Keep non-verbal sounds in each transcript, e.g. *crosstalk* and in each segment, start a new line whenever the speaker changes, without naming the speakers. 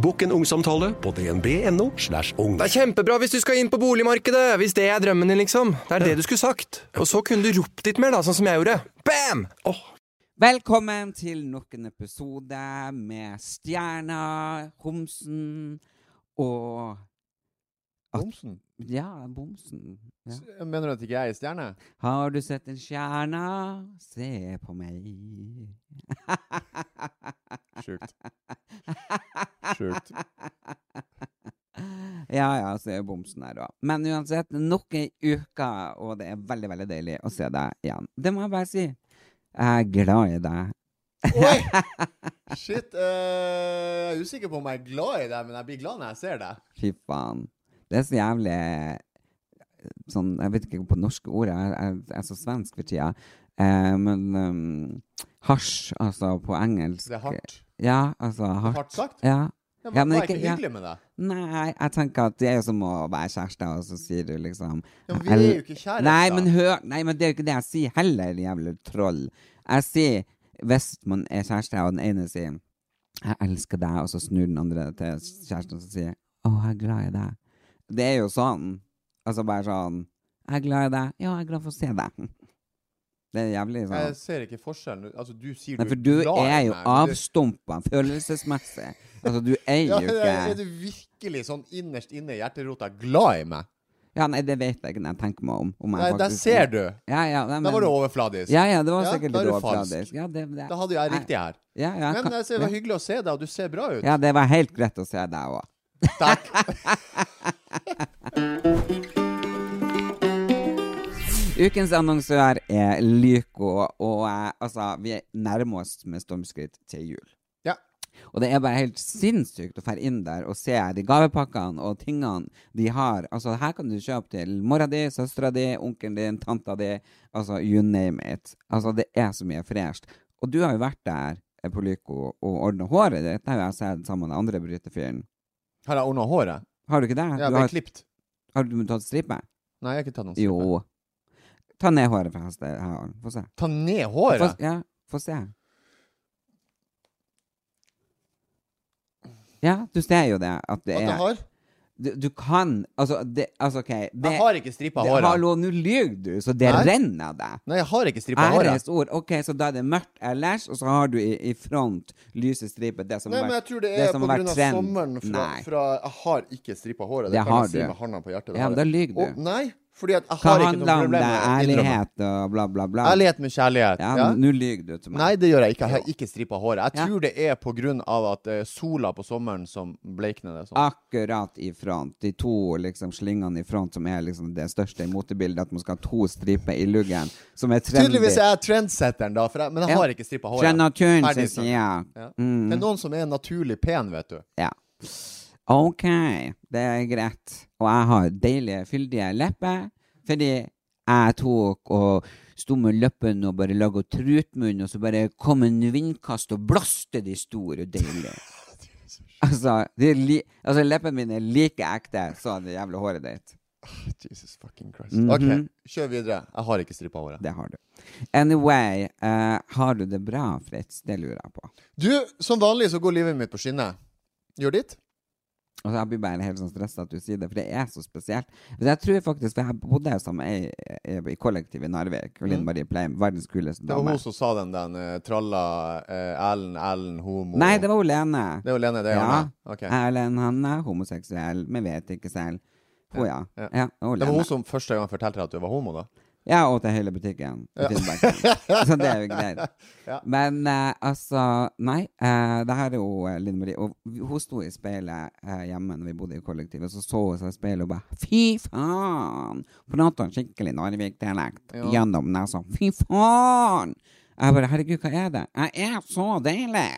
Bokk en ungsamtale på dnb.no. slash ung.
Det er kjempebra hvis du skal inn på boligmarkedet, hvis det er drømmen din, liksom. Det er det du skulle sagt. Og så kunne du ropt litt mer, da, sånn som jeg gjorde. Bam!
Velkommen til nok en episode med Stjerna, Homsen og At-
Bomsen?
Ja, Bomsen. Ja.
Mener du at ikke jeg er stjerne?
Har du sett en stjerne? Se på meg.
Sjukt. Sjukt.
Ja, ja, så er jo bomsen her òg. Men uansett, nok ei uke, og det er veldig, veldig deilig å se deg igjen. Det må jeg bare si. Jeg er glad i deg.
Oi! Shit. eh, jeg er usikker på om jeg er glad i deg, men jeg blir glad når jeg ser deg.
Fy faen. Det er så jævlig sånn, Jeg vet ikke på norske ord, jeg, jeg, jeg er så svensk for tida. Eh, men ehm, hasj, altså på engelsk
Det er hardt.
Ja, altså hardt.
Hardt sagt?
Ja.
Ja,
Ja,
men
men
var jeg
ikke-
ikke
ja.
hyggelig med deg?
Nei, jeg tenker at det er jo som å være kjærester, og så sier du liksom
Ja, men vi
jeg-
er jo ikke kjærester.
Nei, men hør Nei, men det er jo ikke det jeg sier heller, jævla troll. Jeg sier hvis man er kjærester, og den ene sier 'jeg elsker deg', og så snur den andre til kjæresten og så sier 'å, jeg er glad i deg'. Det er jo sånn. Altså bare sånn 'jeg er glad i deg', 'ja, jeg er glad for å se deg'. Det er jævlig sånn.
Jeg ser ikke forskjellen. Altså, du sier
Nei,
du
for du
glad i
er jo
meg, men du-
avstumpa følelsesmessig. Altså, du er jo
*laughs* Ja, er
ikke
du virkelig sånn innerst inne i hjerterota glad i meg?
Ja, nei, det vet jeg ikke når jeg tenker meg om. om jeg
Nei, der
faktisk-
ser du.
Ja, ja, nei,
Da var
men-
du overfladisk.
Ja, ja, det var
Ja,
sikkert
da er
litt
du falsk.
overfladisk. Ja, det, det,
Da hadde jo jeg riktig her.
Ja, ja,
Men
kan-
jeg ser, det var
ja.
hyggelig å se deg, og du ser bra ut.
Ja, det var helt greit å se deg òg.
Takk.
Ukens annonsør er Lyco, og eh, altså, vi nærmer oss med stormskritt til jul.
Ja.
Og det er bare helt sinnssykt å fære inn der og se de gavepakkene og tingene de har. Altså, her kan du kjøpe til mora di, søstera di, onkelen din, tanta di. Altså, you name it. Altså, det er så mye fresht. Og du har jo vært der eh, på Lyco og ordna håret ditt. Det har jo jeg sett sammen med den andre brytefyren.
Har jeg ordna håret?
Har du ikke det?
Ja,
du
det er
har,
klipt.
har du tatt stripe?
Nei, jeg har ikke tatt noen stripe.
Jo. Ta ned håret fra hestehalen. Få se.
Ta ned
Få,
håret?
ja, få se. Ja, du ser jo det. At det
At jeg
er
har?
du, du kan Altså, det, altså OK det,
Jeg har ikke stripa
det,
håret.
Hallo, nå lyver du, så det
Nei.
renner av deg.
Nei, jeg har ikke stripa håret.
Æresord. OK, så da er det mørkt ellers, og så har du i, i front lyse striper. Det som
Nei,
har
men jeg
vært-
tror det er
som
på
har vært
grunn av
trend.
sommeren fra,
Nei.
fra Jeg har ikke strippa håret.
Det
Det, kan
har
jeg
du.
si med handa på hjertet. det
Ja,
har
men da
jeg.
lyver du.
Og, nei, fordi at jeg
Hva
har ikke
handler
noe
om det?
problem med å innrømme
Ærlighet og bla, bla, bla?
Ærlighet med kjærlighet.
Ja,
Ja.
men nå lyver du til meg.
Nei, det gjør jeg ikke. Jeg har ikke strippa håret. Jeg
Ja.
tror det er på grunn av at eh, sola på sommeren som bleikner det
Ah,
sånn.
akkurat i front. De to liksom slingene i front som er liksom det største i motebildet. At man skal ha to striper i luggen, som er trendy.
Tydeligvis er jeg trendsetteren, da, for jeg, men jeg
Ja.
har ikke strippa
Fra
håret.
naturen
Ferdig
sin
snakk.
side.
Ja.
Mm.
Det er noen som er naturlig pen,
*laughs*
vet du.
Ja. OK, det er greit. Og jeg har deilige, fyldige lepper, fordi jeg tok og sto med leppen og bare laga trutmunn, og så bare kom en vindkast og blåste de store og deilige. *laughs* Altså, de er li altså, leppene mine er like ekte som det jævla håret ditt.
Jesus fucking Christ.
Mhm.
OK, kjør videre. Jeg har ikke strippa håret.
Det har du. Anyway, eh, har du det bra, Fritz? Det lurer jeg på.
Du, som vanlig så går livet mitt på skinner. Gjør ditt?
Og så Jeg blir bare helt sånn stressa at du sier det, for det er så spesielt. Men jeg tror faktisk, for jeg bodde jo sammen med ei ei- i kollektiv i Narvik, og Linn Marie Pleim, verdens kuleste
Mm. Det var
dame.
hun som sa den, den eh, tralla eh, Ellen, Ellen, homo
Nei, det var hun Lene.
Det var Lene, det er
ja.
Hanne. Ok.
Erlend, han er homoseksuell, men vet ikke selv. Hun, ja.
ja.
ja. hun
Det var
Lene.
hun som første gang fortalte deg at du var homo, da?
Jeg åt det hele butikken. i Finnmarken. Så *laughs* det er jo greit.
*laughs* Ja.
Men eh, altså, nei. eh, det her er jo eh, Linn Marie. Og vi- hun sto i speilet eh, hjemme når vi bodde i kollektiv, og så så hun seg i speilet og bare Fy faen! Prata en skikkelig Narvik-dialekt gjennom nesa. Fy faen! Jeg bare Herregud, hva er det? Jeg er så deilig!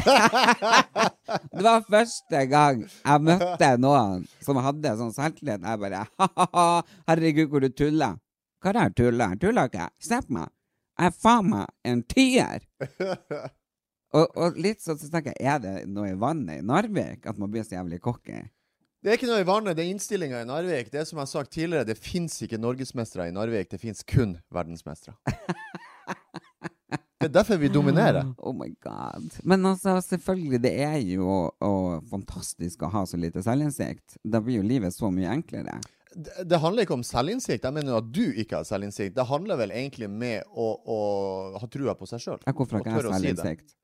*laughs* det var første gang jeg møtte noen som hadde sånn selvtillit. Jeg bare *laughs* Ha-ha-ha! Herregud, hvor du tuller! Hva er det jeg tuller? Jeg tuller ikke. Se på meg. Jeg er faen meg en tier.
*laughs*
og, og litt sånn så tenker jeg, er det noe i vannet i Narvik at man blir så jævlig cocky?
Det er ikke noe i vannet, det er innstillinga i Narvik. Det er som jeg har sagt tidligere, det fins ikke norgesmestere i Narvik. Det fins kun
*laughs*
verdensmestere. Det er derfor vi dominerer.
Oh my god. Men altså, selvfølgelig, det er jo og, fantastisk å ha så lite selvinnsikt. Da blir jo livet så mye enklere.
Det, det handler ikke om selvinnsikt. Jeg mener jo at du ikke har selvinnsikt. Det handler vel egentlig med å, å ha trua på seg sjøl.
Ja, Hvorfor har ikke jeg selvinnsikt?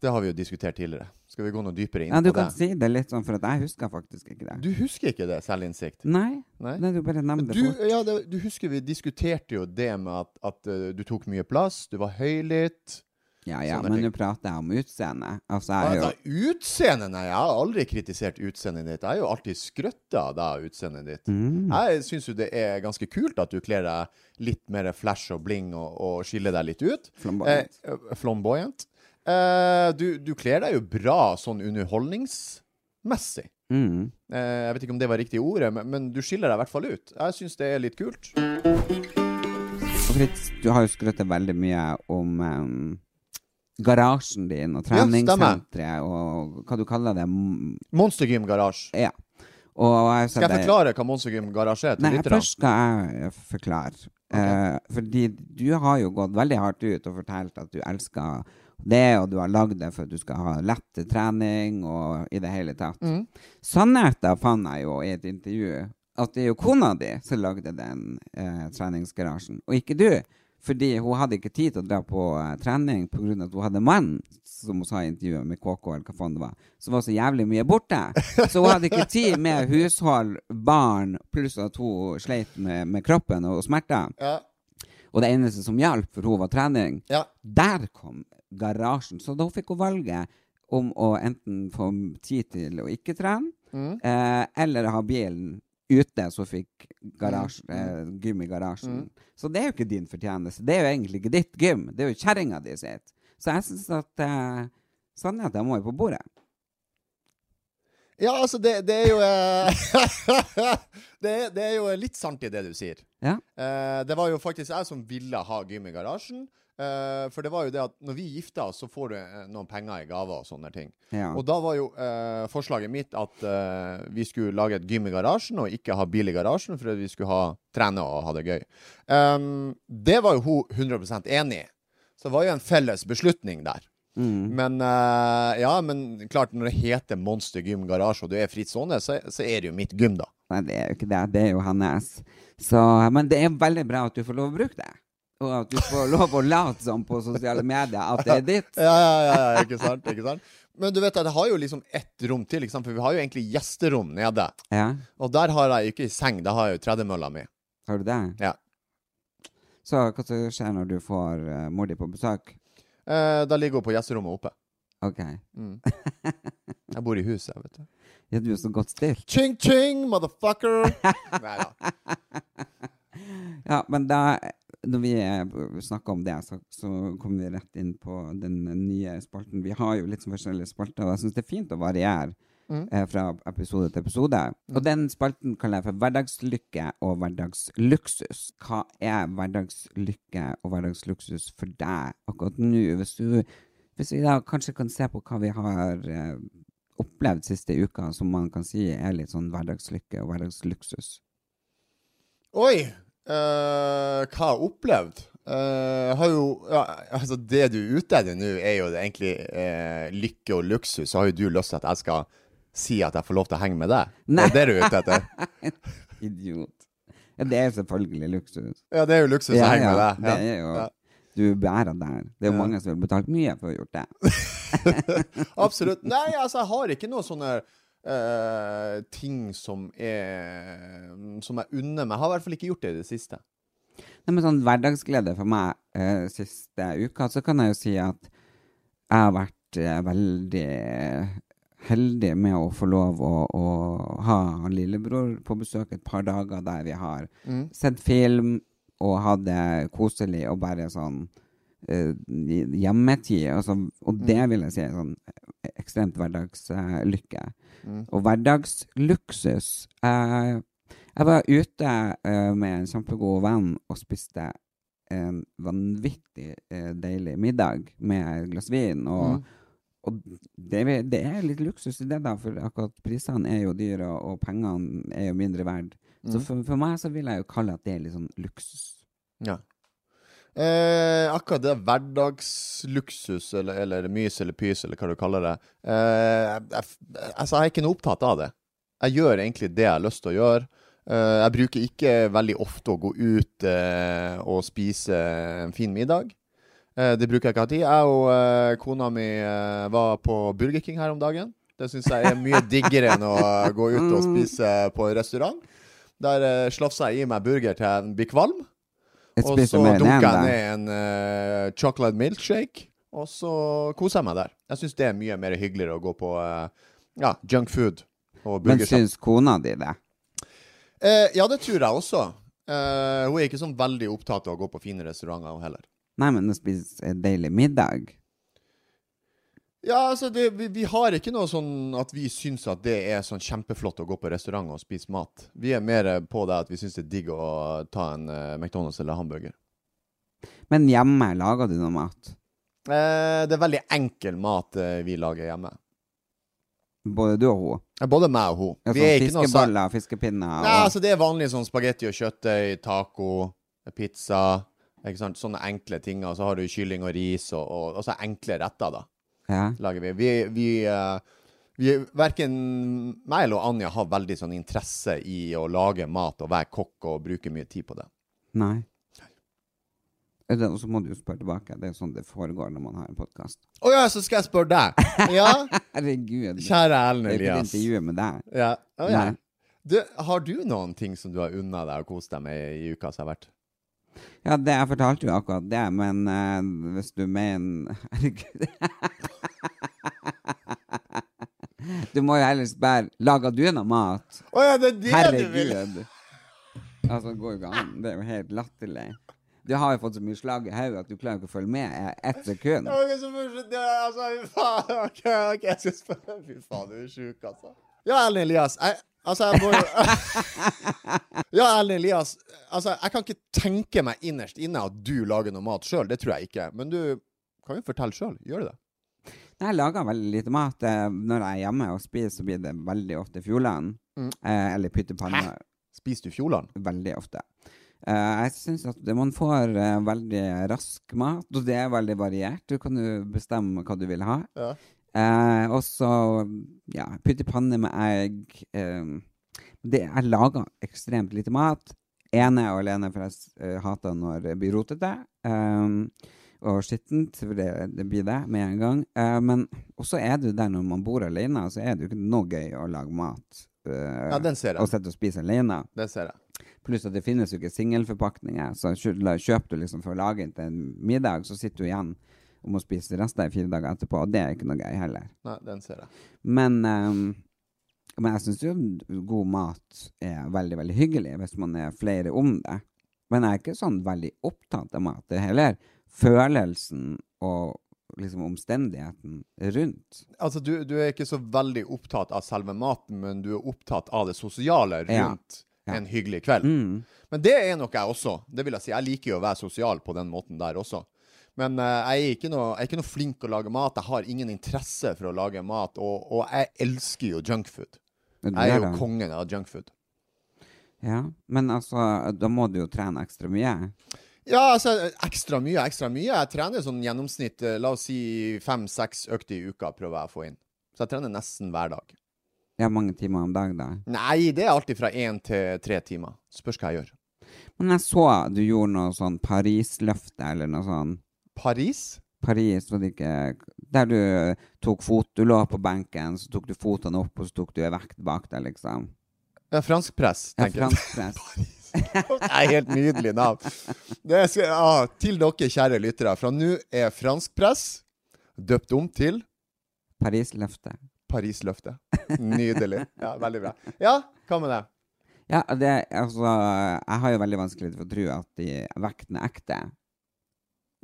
Det har vi jo diskutert tidligere. Skal vi gå noe dypere inn
Ja, du
på
kan
det?
si det litt sånn, for at jeg husker faktisk ikke det.
Du husker ikke det, selvinnsikt?
Nei.
Nei.
Nei, du bare nevner det
Du,
fort.
ja, det, du husker vi diskuterte jo det med at, at eh, du tok mye plass, du var høylytt.
Ja, ja,
sånne
men nå
ting.
prater jeg om utseendet. Altså, jeg er jo
Altså, utseendet? Nei, jeg har aldri kritisert utseendet ditt. Jeg har jo alltid skrøtta av deg, utseendet ditt.
Mm.
Jeg syns jo det er ganske kult at du kler deg litt mer flash og bling og, og skiller deg litt ut.
Flamboyant.
Eh, eh, flamboyant. Eh, du, du kler deg jo bra sånn underholdningsmessig.
mm.
Eh, jeg vet ikke om det var riktig ordet, men, men du skiller deg i hvert fall ut. Jeg syns det er litt kult.
Og Fritz, du har jo skrøtet veldig mye om em, garasjen din og
Ja, stemmer.
treningssenteret og hva du kaller det. Mm,
Monstergym Garasje.
Ja. Og jeg
Skal jeg forklare hva Monstergym Garasje er til
Nei,
lytterne?
først skal jeg eh, forklare. Eh, fordi du har jo gått veldig hardt ut og fortalt at du elsker det, og du har lagd det for at du skal ha lett trening og i det hele tatt.
Mm.
Sannheten fant jeg jo i et intervju at det er jo kona di som lagde den eh, treningsgarasjen, og ikke du. Fordi hun hadde ikke tid til å dra på eh, trening pga. at hun hadde mann, som hun sa i intervjuet med KK, eller hva faen det var, som var så jævlig mye borte. Så hun hadde ikke tid med hushold, barn, pluss at hun sleit med, med kroppen og smerter.
Ja,
Og det eneste som hjalp for hun var trening.
ja.
Der kom garasjen. Så da fikk hun valget om å enten få tid til å ikke trene, eh, eller ha bilen ute, så fikk garasje, eh, gym i garasjen. Så det er jo ikke din fortjeneste. Det er jo egentlig ikke ditt gym. Det er jo kjerringa di sitt. Så jeg syns at eh, sannheten må jo på bordet.
Ja, altså, det, det er jo eh, *laughs* det, er- det er jo litt sant i det du sier.
Ja.
Eh, det var jo faktisk jeg som ville ha gym i garasjen. eh, for det var jo det at når vi gifta oss, så får du eh, noen penger i gaver og sånne ting.
Ja.
Og da var jo eh, forslaget mitt at eh, vi skulle lage et gym i garasjen, og ikke ha bil i garasjen, for at vi skulle ha, trene og ha det gøy. Um, det var jo hun 100 enig i. Så det var jo en felles beslutning der. Men eh, ja, men klart, når det heter Monster Gym Garasje, og du er Fritz Aane, så, så er det jo mitt gym, da.
Nei, det er jo ikke det. Det er jo hennes. Så, men det er veldig bra at du får lov å bruke det. Og at du får lov å late som på sosiale medier at det er
*laughs*
ditt.
Ja, ja, ja, ja, ikke sant? ikke sant? Men du vet, at jeg har jo liksom ett rom til, ikke sant? for vi har jo egentlig gjesterom nede.
Ja,
Og der har jeg jo ikke seng, der har jeg jo tredemølla mi.
har du det?
Ja.
Så hva som skjer når du får uh, mor di på besøk?
Eh, da ligger hun på gjesterommet oppe. Mm.
Ok.
*laughs* Jeg bor i huset, vet du.
Ja, du er så godt stilt.
Ching, ching, *laughs* motherfucker! Nei da.
Ja, men da når vi eh, snakker om det, så, så kommer vi rett inn på den nye spalten. Vi har jo litt sånn forskjellige spalter, og jeg syns det er fint å variere eh, fra episode til episode. Og den spalten kaller jeg for hverdagslykke og hverdagsluksus. Hva er hverdagslykke og hverdagsluksus for deg akkurat nå? Hvis, du, hvis vi da kanskje kan se på hva vi har eh, opplevd siste uka, som man kan si er litt sånn hverdagslykke og hverdagsluksus.
Oi! eh, hva jeg har opplevd? Eh, jeg har jo ja, Altså, det du er ute etter nå, er jo det egentlig eh, lykke og luksus. Så har jo du lyst til at jeg skal si at jeg får lov til å henge med deg? Det er det du er ute etter?
Idiot. Ja, det er selvfølgelig luksus.
Ja, det er jo luksus å
Ja,
henge
ja,
med deg.
det er jo
Ja.
Du bærer der. Det er jo mange som vil betalt mye for å ha gjort det.
*laughs* Absolutt. Nei, altså, jeg har ikke noen sånne eh, ting som er Som jeg unner meg. Jeg har i hvert fall ikke gjort det i det siste.
Nei, men sånn hverdagsglede for meg eh, siste uka, så kan jeg jo si at jeg har vært eh, veldig heldig med å få lov å, å ha lillebror på besøk et par dager der vi har sett film og hatt det koselig og bare sånn eh, hjemmetid. Altså, og det vil jeg si er sånn ekstremt hverdagslykke. Og hverdagsluksus eh, Jeg var ute eh, med en kjempegod venn og spiste en vanvittig eh, deilig middag med et glass vin. og
Mm.
og det, vil- det er litt luksus i det, da, for akkurat prisene er jo dyre, og, og pengene er jo mindre verd.
Mm.
Så for, for meg så vil jeg jo kalle at det er litt sånn luksus.
Ja. Eh, akkurat det der hverdagsluksus, eller, eller mys eller pys, eller hva du kaller det eh, jeg, jeg, Altså, jeg er ikke noe opptatt av det. Jeg gjør egentlig det jeg har lyst til å gjøre. Eh, jeg bruker ikke veldig ofte å gå ut eh, og spise en fin middag. Eh, det bruker jeg ikke ha tid. Jeg og eh, kona mi eh, var på Burger King her om dagen. Det syns jeg er mye diggere enn å eh, gå ut
*laughs*
og
Mm.
spise på en restaurant. Der eh, slafsa jeg i meg burger til jeg blir kvalm.
Jeg
Og
spiser
så
mer enn én,
dunka
da.
jeg ned en eh, chocolate milkshake, og så koser jeg meg der. Jeg syns det er mye mer hyggeligere å gå på eh, ja, junk food og
Men
burgershop.
syns kona di det?
Eh, ja, det tror jeg også. Eh, hun er ikke sånn veldig opptatt av å gå på fine restauranter, hun heller.
Nei, men å spise en deilig middag
Ja, altså, det, vi, vi har ikke noe sånn at vi syns at det er sånn kjempeflott å gå på restaurant og spise mat. Vi er mer eh, på det at vi syns det er digg å ta en eh, McDonald's eller hamburger.
Men hjemme lager du noe mat?
Eh, det er veldig enkel mat eh, vi lager hjemme.
Både du og hun?
Eh, Både meg og hun.
Ja, sånn
Vi er ikke noe sær-
fiskeboller, fiskepinner og
Nei, altså det er vanlig sånn spagetti og kjøttøy, taco, pizza, ikke sant? sånne enkle ting. Og så har du kylling og ris, og, og, og så enkle retter, da,
ja.
lager vi. Vi, vi, eh, vi Verken meg eller Anja har veldig sånn interesse i å lage mat og være kokk og bruke mye tid på det.
Nei. Er det- Og så må du jo spørre tilbake. Det er jo sånn det foregår når man har en podkast.
Å ja, så skal jeg spørre deg! Ja,
Herregud. Det
kjære Erlend
er jo ikke et
Elias.
intervju med deg.
Ja. Å, ja.
Nei.
Du, har du noen ting som du har unna deg og kost deg med i uka som har vært?
Ja, det, jeg fortalte jo akkurat det, men eh, hvis du mener *laughs* Herregud. du må jo heller spørre Lager du noe mat.
Å ja, det er det du vil!
Herregud. Altså, det går jo ikke an. Det er jo helt latterlig. Du har jo fått så mye slag i hodet at du klarer ikke å følge med i ett sekund.
Ja, ok, så først- det er- altså, fy faen, *laughs* ok, ok, jeg skal spørre. Fy faen, du er sjuk, altså. Ja, Erlend Elias. Jeg, altså, jeg må jo *laughs* Ja, Erlend Elias. Altså, jeg kan ikke tenke meg innerst inne at du lager noe mat sjøl. Det tror jeg ikke. Men du kan jo fortelle sjøl. Gjør du det?
Nei, Jeg lager veldig lite mat. Eh, Når jeg er hjemme og spiser, så blir det veldig ofte fjordland. Eh, eller pyttepanne.
Spiser du Fjordland?
Veldig ofte. Eh, jeg syns at man får eh, veldig rask mat, og det er veldig variert. Du kan jo bestemme hva du vil ha.
Ja.
Eh, og så ja, pyttepanne med egg. eh, det, jeg lager ekstremt lite mat. Ene og alene, for jeg s- eh, hater når det blir rotete. eh, og skittent, for det, det blir det med en gang. Eh, men også er det jo der når man bor alene, så er det jo ikke noe gøy å lage mat. eh,
Ja, den ser jeg.
Og sitte og spise alene.
Det ser jeg.
Pluss at det finnes jo ikke singelforpakninger. Så kjø- la- kjøper du liksom for å lage inn til en middag, så sitter du igjen og må spise resten i fire dager etterpå. Og det er ikke noe gøy heller.
Nei, den ser jeg.
Men, ehm, men jeg syns jo god mat er veldig, veldig hyggelig hvis man er flere om det. Men jeg er ikke sånn veldig opptatt av mat. Det er heller følelsen og liksom omstendigheten rundt.
Altså, du, du er ikke så veldig opptatt av selve maten, men du er opptatt av det sosiale
Ja.
rundt en hyggelig kveld.
Mm.
Men det er nok jeg også. Det vil jeg si. Jeg liker jo å være sosial på den måten der også. Men eh, jeg, er ikke noe, jeg er ikke noe flink til å lage mat. Jeg har ingen interesse for å lage mat, og, og jeg elsker jo junkfood.
Du
Jeg er
gjør
jo
det.
kongen av junkfood.
Ja, men altså, da må du jo trene ekstra mye.
Ja, altså, ekstra mye, ekstra mye. Jeg trener sånn gjennomsnitt, eh, la oss si fem-seks økter i uka, prøver jeg å få inn. Så jeg trener nesten hver dag.
Ja, mange timer om dagen, da.
Nei, det er alltid fra én til tre timer. Spørs hva jeg gjør.
Men jeg så du gjorde noe sånn Paris-løfte, eller noe sånn
Paris?
Paris, var det ikke Der du tok fot Du lå på benken, så tok du fotene opp, og så tok du en vekt bak deg, liksom.
Ja, fransk press,
Ja,
tenker jeg.
fransk press.
*laughs* Det er helt nydelig navn. Det skal, ah, til dere, kjære lyttere, fra nå er franskpress døpt om til
Paris-løftet.
Parisløftet. Nydelig. Ja, Veldig bra. Ja, hva med det?
Ja, det, altså, jeg har jo veldig vanskelig for å tro at de vekten er ekte.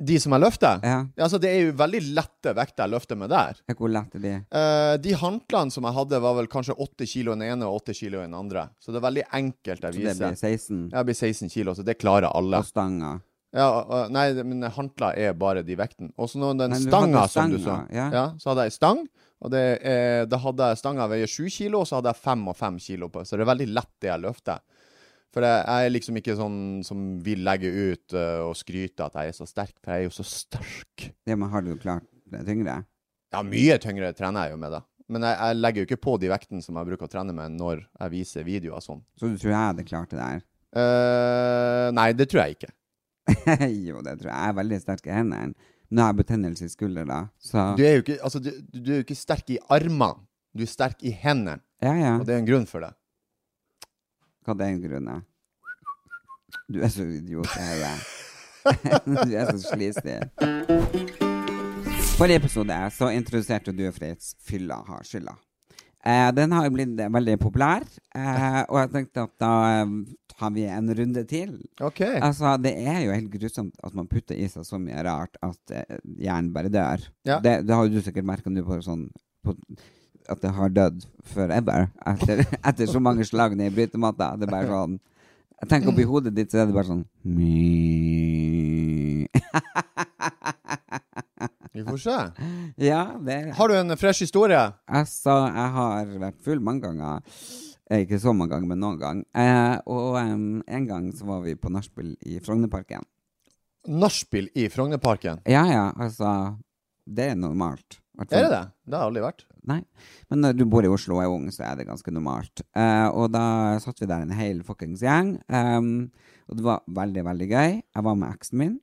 De som jeg løfter?
Ja,
Ja, altså, det er jo veldig lette vekter jeg løfter med der.
hvor lett er de?
Eh, de håndklærne som jeg hadde, var vel kanskje 8 kilo den ene og 8 kilo den andre. Så det er veldig enkelt jeg
Så det
viser.
blir 16
Jeg blir 16 kilo, så det klarer alle.
og stanga.
Ja, og- og- nei, men håndklær er bare de vekten. Og så nå den
Nei, du
stanga,
hadde
som du
stanga,
så.
ja.
så hadde jeg ei stang. Og det, eh, da hadde jeg stanga veier 7 kilo, og så hadde jeg 5 og 5 kilo på. Så det er veldig lett det jeg løfter. For jeg jeg er liksom ikke sånn som vil legge ut eh, og skryte at jeg er så sterk, for jeg er jo så sterk.
Ja, men har du klart det tyngre?
Ja, mye tyngre trener jeg jo med, da. Men jeg, jeg legger jo ikke på de vektene som jeg bruker å trene med når jeg viser videoer sånn.
Så du tror jeg hadde klart det der? *laughs*
eh nei, det tror jeg ikke.
jo, det tror jeg. Jeg er veldig sterk i hendene. Nå har jeg betennelse i skuldra, så
Du er jo ikke, altså, du, du er jo ikke sterk i armene. Du er sterk i hendene,
Ja, ja.
og det er en grunn for det.
Hva det er en grunn er? Du er så idiot, jeg er det. Du er så slisig. Forrige episode så introduserte du Fritz Fylla har skylda. Eh, den har jo blitt veldig populær, eh, og jeg tenkte at da eh, tar vi en runde til.
OK.
*laughs* Altså, det er jo helt grusomt at man putter i seg så mye rart at eh, hjernen bare dør.
Ja.
Det, det har jo du sikkert merka nå på sånn på, At det har dødd forever. Etter, *laughs* etter så mange slag ned i brytematta. Det er bare sånn Jeg tenker oppi hodet ditt, så er det bare sånn *laughs*
Vi får se.
Ja, det er
Har du en fresh historie?
Altså, jeg har vært full mange ganger. Eh, Ikke så mange ganger, men noen gang. Eh, og em, en gang så var vi på nachspiel i Frognerparken.
Nachspiel i Frognerparken.
Ja ja, altså Det er normalt. Hvertfall-
Er det det? Det har jeg aldri vært.
Nei. Men når du bor i Oslo og er ung, så er det ganske normalt. Eh, og da satt vi der en hel fuckings gjeng, ehm, og det var veldig, veldig gøy. Jeg var med eksen min.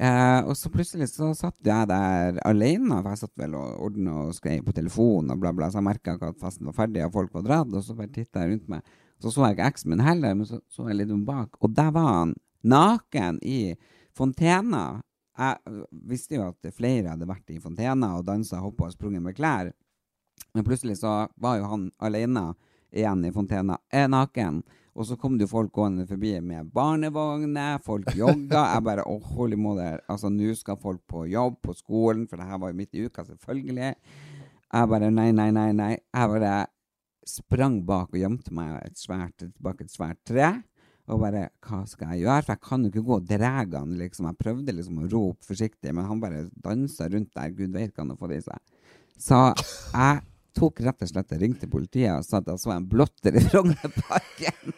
Eh, og så plutselig så satt jeg der alene, for jeg satt vel og ordna og skrev på telefonen og bla, bla, så jeg merka ikke at festen var ferdig og folk var dratt, og så bare titta jeg rundt meg. Så så jeg ikke eksen min heller, men så så jeg litt om bak, og der var han naken i fontena. Jeg øh, visste jo at flere hadde vært i fontena og dansa, hoppa og sprunget med klær. Men plutselig så var jo han alene igjen i fontena, er naken. Og så kom det jo folk gående forbi med barnevogner, folk jogga. Jeg bare Å, holy mother. Altså, nå skal folk på jobb, på skolen, for det her var jo midt i uka, selvfølgelig. Jeg bare Nei, nei, nei, nei. Jeg bare sprang bak og gjemte meg et svært, bak et svært tre. Og bare Hva skal jeg gjøre? For jeg kan jo ikke gå og dra han, liksom. Jeg prøvde liksom å rope forsiktig, men han bare dansa rundt der. Gud veit hva han har fått i seg. Så jeg tok rett og slett og ringte politiet og sa at jeg så en blotter i
*laughs*
Frognerparken.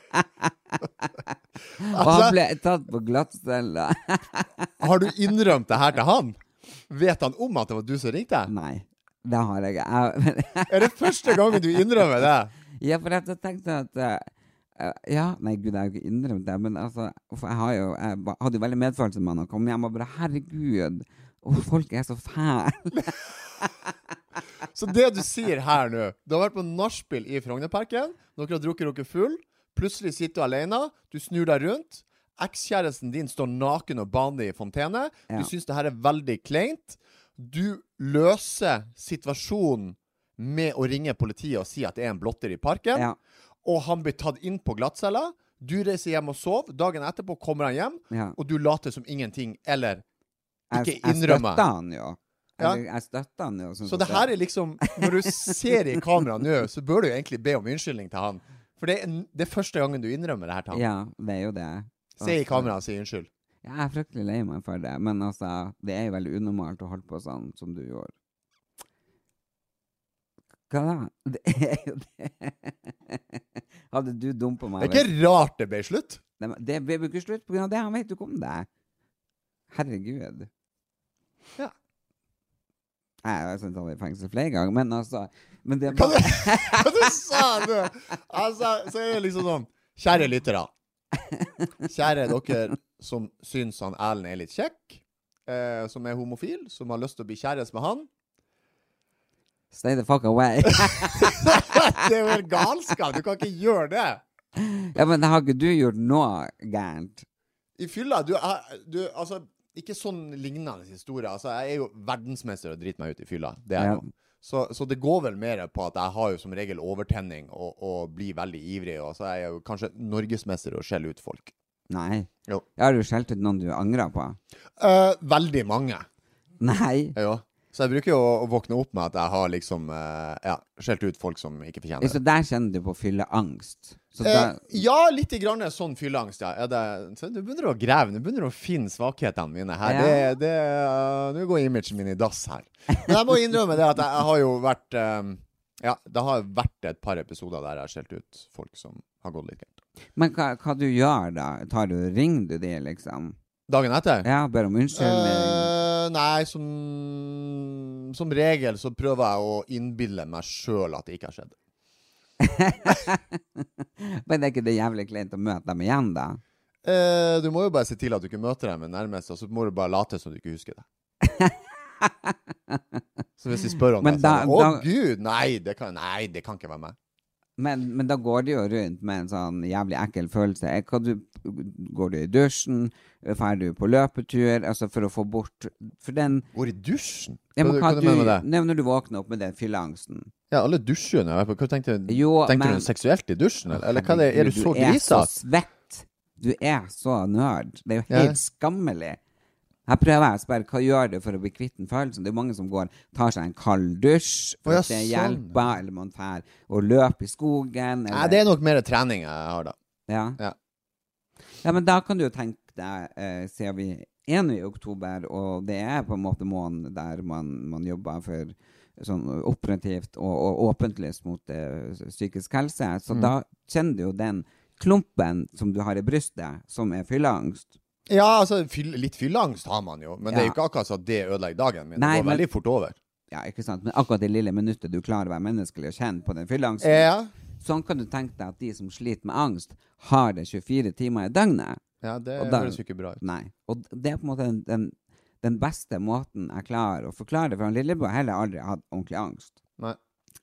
Altså-
og han ble tatt på glattcella.
Har du innrømt det her til han? Vet han om at det var du som ringte?
Nei, det har jeg ikke. Jeg- *laughs*
Er det første gangen du innrømmer det?
Ja, for at jeg tenkte at eh, eh, Ja, nei, gud, jeg har jo ikke innrømt det, men altså For jeg, har jo, jeg ba- hadde jo veldig medfølelse med han og kom hjem og bare Herregud, å, folk er så fæle.
Så det du sier her nå Du har vært på nachspiel i Frognerparken. Dere har drukket dere full. Plutselig sitter du alene. Du snur deg rundt. Ekskjæresten din står naken og baner i fontene.
Ja.
Du syns det her er veldig kleint. Du løser situasjonen med å ringe politiet og si at det er en blotter i parken.
Ja.
Og han blir tatt inn på glattcella. Du reiser hjem og sover. Dagen etterpå kommer han hjem,
Ja.
og du later som ingenting. Eller
Jeg,
ikke
jeg
innrømmer.
støtta han jo.
Ja.
Jeg, jeg støtta han jo. sånn
Så
som
det
så-
her er liksom Når du ser i kamera nå, så bør du jo egentlig be om unnskyldning til han. For det er, n- det er første gangen du innrømmer det her til han.
Ja, det er jo det.
Se i kamera og si unnskyld.
Ja, jeg er fryktelig lei meg for det, men altså, det er jo veldig unormalt å holde på sånn som du gjorde. Hva da? *laughs* Det er jo det. Hadde du dumpa meg
Det er ikke rart det ble slutt.
Nei, men Det ble jo ikke slutt på grunn av det. Han vet jo ikke om det. Herregud.
Ja.
Nei, Jeg har sendt han i fengsel flere ganger, men altså men det er
Hva
bare,
du, hva du sa du? Altså, så er det liksom sånn Kjære lyttere. Kjære dere som syns han Erlend er litt kjekk, eh, som er homofil, som har lyst til å bli kjæreste med han.
*laughs*
*laughs*
Stay the fuck away. *laughs*
Det er jo helt galskap! Du kan ikke gjøre det!
Ja, men har ikke du gjort noe gærent?
I fylla du, er, du Altså, ikke sånn lignende historie. Altså, jeg er jo verdensmester og driter meg ut i fylla. Det er jeg
Ja.
jo. Så, så det går vel mer på at jeg har jo som regel overtenning og, og blir veldig ivrig. Og så er jeg jo kanskje norgesmester i å skjelle ut folk.
Nei.
Jo.
Jeg har jo skjelt ut noen du angrer på.
Eh, veldig mange.
Nei.
Ja. Så jeg bruker jo å våkne opp med at jeg har liksom eh, ja, skjelt ut folk som ikke fortjener det.
Så der kjenner du på fylleangst. Så da
Eh, ja, litt grann sånn fylleangst, ja. ja det, så du begynner å grave, du begynner å finne svakhetene mine her.
Ja.
Det, det, eh, Nå går imagen min i dass her. Men jeg må innrømme det at jeg, jeg har jo vært eh, Ja, det har vært et par episoder der jeg har skjelt ut folk som har gått litt gærent.
Men hva, hva du gjør da? Tar du, ringer du de, liksom?
Dagen etter?
Ja, ber om unnskyldning?
Eh, nei, som, som regel så prøver jeg å innbille meg sjøl at det ikke har skjedd.
Men det er ikke det jævlig kleint å møte dem igjen, da?
Eh, du må jo bare se til at du ikke møter dem nærmest, og så må du bare late som du ikke
*laughs*
husker det. så hvis de spør om
Men
det, så
da-
er det, Å,
da-
gud! Nei det, kan, nei, det kan ikke være meg.
Men, men da går det jo rundt med en sånn jævlig ekkel følelse. Er- Hva du, går du i dusjen? Eh, Drar du på løpetur? Altså for å få bort For den
Går i dusjen?
ja, men hva
hva, hva
du,
du mener med det?
Nei, men Når du våkner opp med den fylleangsten
Ja, alle dusjer jo når jeg er på- Hva tenkte du?
Jo,
tenkte
men-
du seksuelt i dusjen, eller? eller hva er det? Er du
er så
så grisete?
svett. Du er så nerd. Det er jo
Ja.
helt skammelig. Her prøver jeg å spørre hva gjør du for å bli kvitt den følelsen. Det er jo mange som går tar seg en kald dusj for
Å, ja,
at det
sånn.
hjelper, eller man drar og løper i skogen. Eller,
Nei, det er nok mer trening jeg har, da.
ja.
Ja.
Ja. men da kan du jo tenke deg, eh, siden vi er nå i oktober, og det er på en måte måneden der man, man jobber for sånn operativt og, og åpentlys mot eh, psykisk helse, så da kjenner du jo den klumpen som du har i brystet, som er fylleangst.
Ja, altså, fyll, litt fylleangst har man jo, men det er jo
Ja.
ikke akkurat så at det ødelegger dagen min.
Nei,
det går
men-
veldig fort over.
Ja, ikke sant? Men akkurat det lille minuttet du klarer å være menneskelig og kjenne på den fylleangsten,
Ja,
sånn kan du tenke deg at de som sliter med angst, har det 24 timer i døgnet.
ja det
Og da-
høres jo ikke bra ut.
Nei. Og d- det er på en måte den, den, den beste måten jeg klarer å forklare det, for han lillebror har heller aldri hatt ordentlig angst.
Nei.